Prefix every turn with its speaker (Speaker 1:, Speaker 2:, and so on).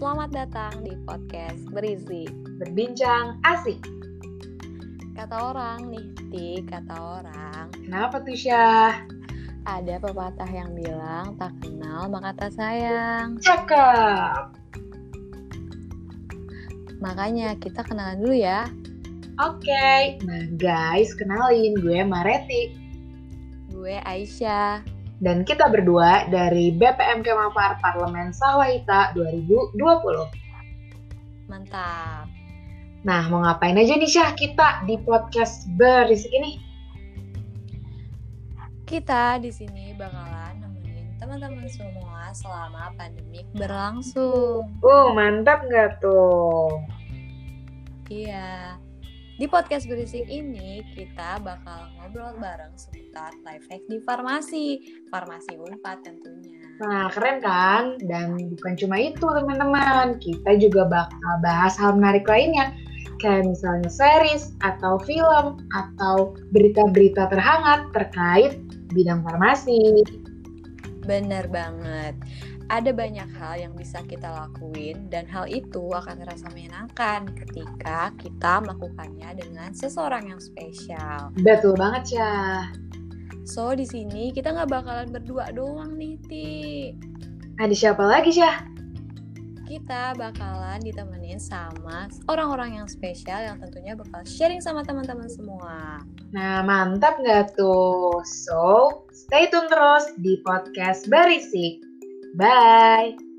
Speaker 1: Selamat datang di podcast Berisi.
Speaker 2: berbincang asik.
Speaker 1: Kata orang nih, Ti, kata orang,
Speaker 2: Kenapa tuh Syah?
Speaker 1: ada pepatah yang bilang tak kenal maka tak sayang.
Speaker 2: Cakep.
Speaker 1: Makanya kita kenalan dulu ya.
Speaker 2: Oke, nah guys kenalin gue Mareti
Speaker 1: Gue Aisyah.
Speaker 2: dan kita berdua dari BPM Kemapar Parlemen Sawahita 2020.
Speaker 1: Mantap.
Speaker 2: Nah mau ngapain aja nih Syah kita di podcast berisik ini?
Speaker 1: Kita di sini bakalan nemenin teman-teman semua selama pandemik berlangsung.
Speaker 2: Uh mantap nggak tuh?
Speaker 1: Iya. Di podcast berisik ini kita bakal ngobrol bareng seputar life hack di farmasi, farmasi Unpad tentunya.
Speaker 2: Nah keren kan? Dan bukan cuma itu teman-teman, kita juga bakal bahas hal menarik lainnya kayak misalnya series atau film atau berita-berita terhangat terkait bidang farmasi.
Speaker 1: Bener banget. Ada banyak hal yang bisa kita lakuin dan hal itu akan terasa menyenangkan ketika kita melakukannya dengan seseorang yang spesial.
Speaker 2: Betul banget ya.
Speaker 1: So di sini kita nggak bakalan berdua doang nih, Ti.
Speaker 2: Ada siapa lagi Syah?
Speaker 1: Kita bakalan ditemenin sama orang-orang yang spesial yang tentunya bakal sharing sama teman-teman semua.
Speaker 2: Nah mantap nggak tuh? So stay tune terus di podcast Berisik. Bye.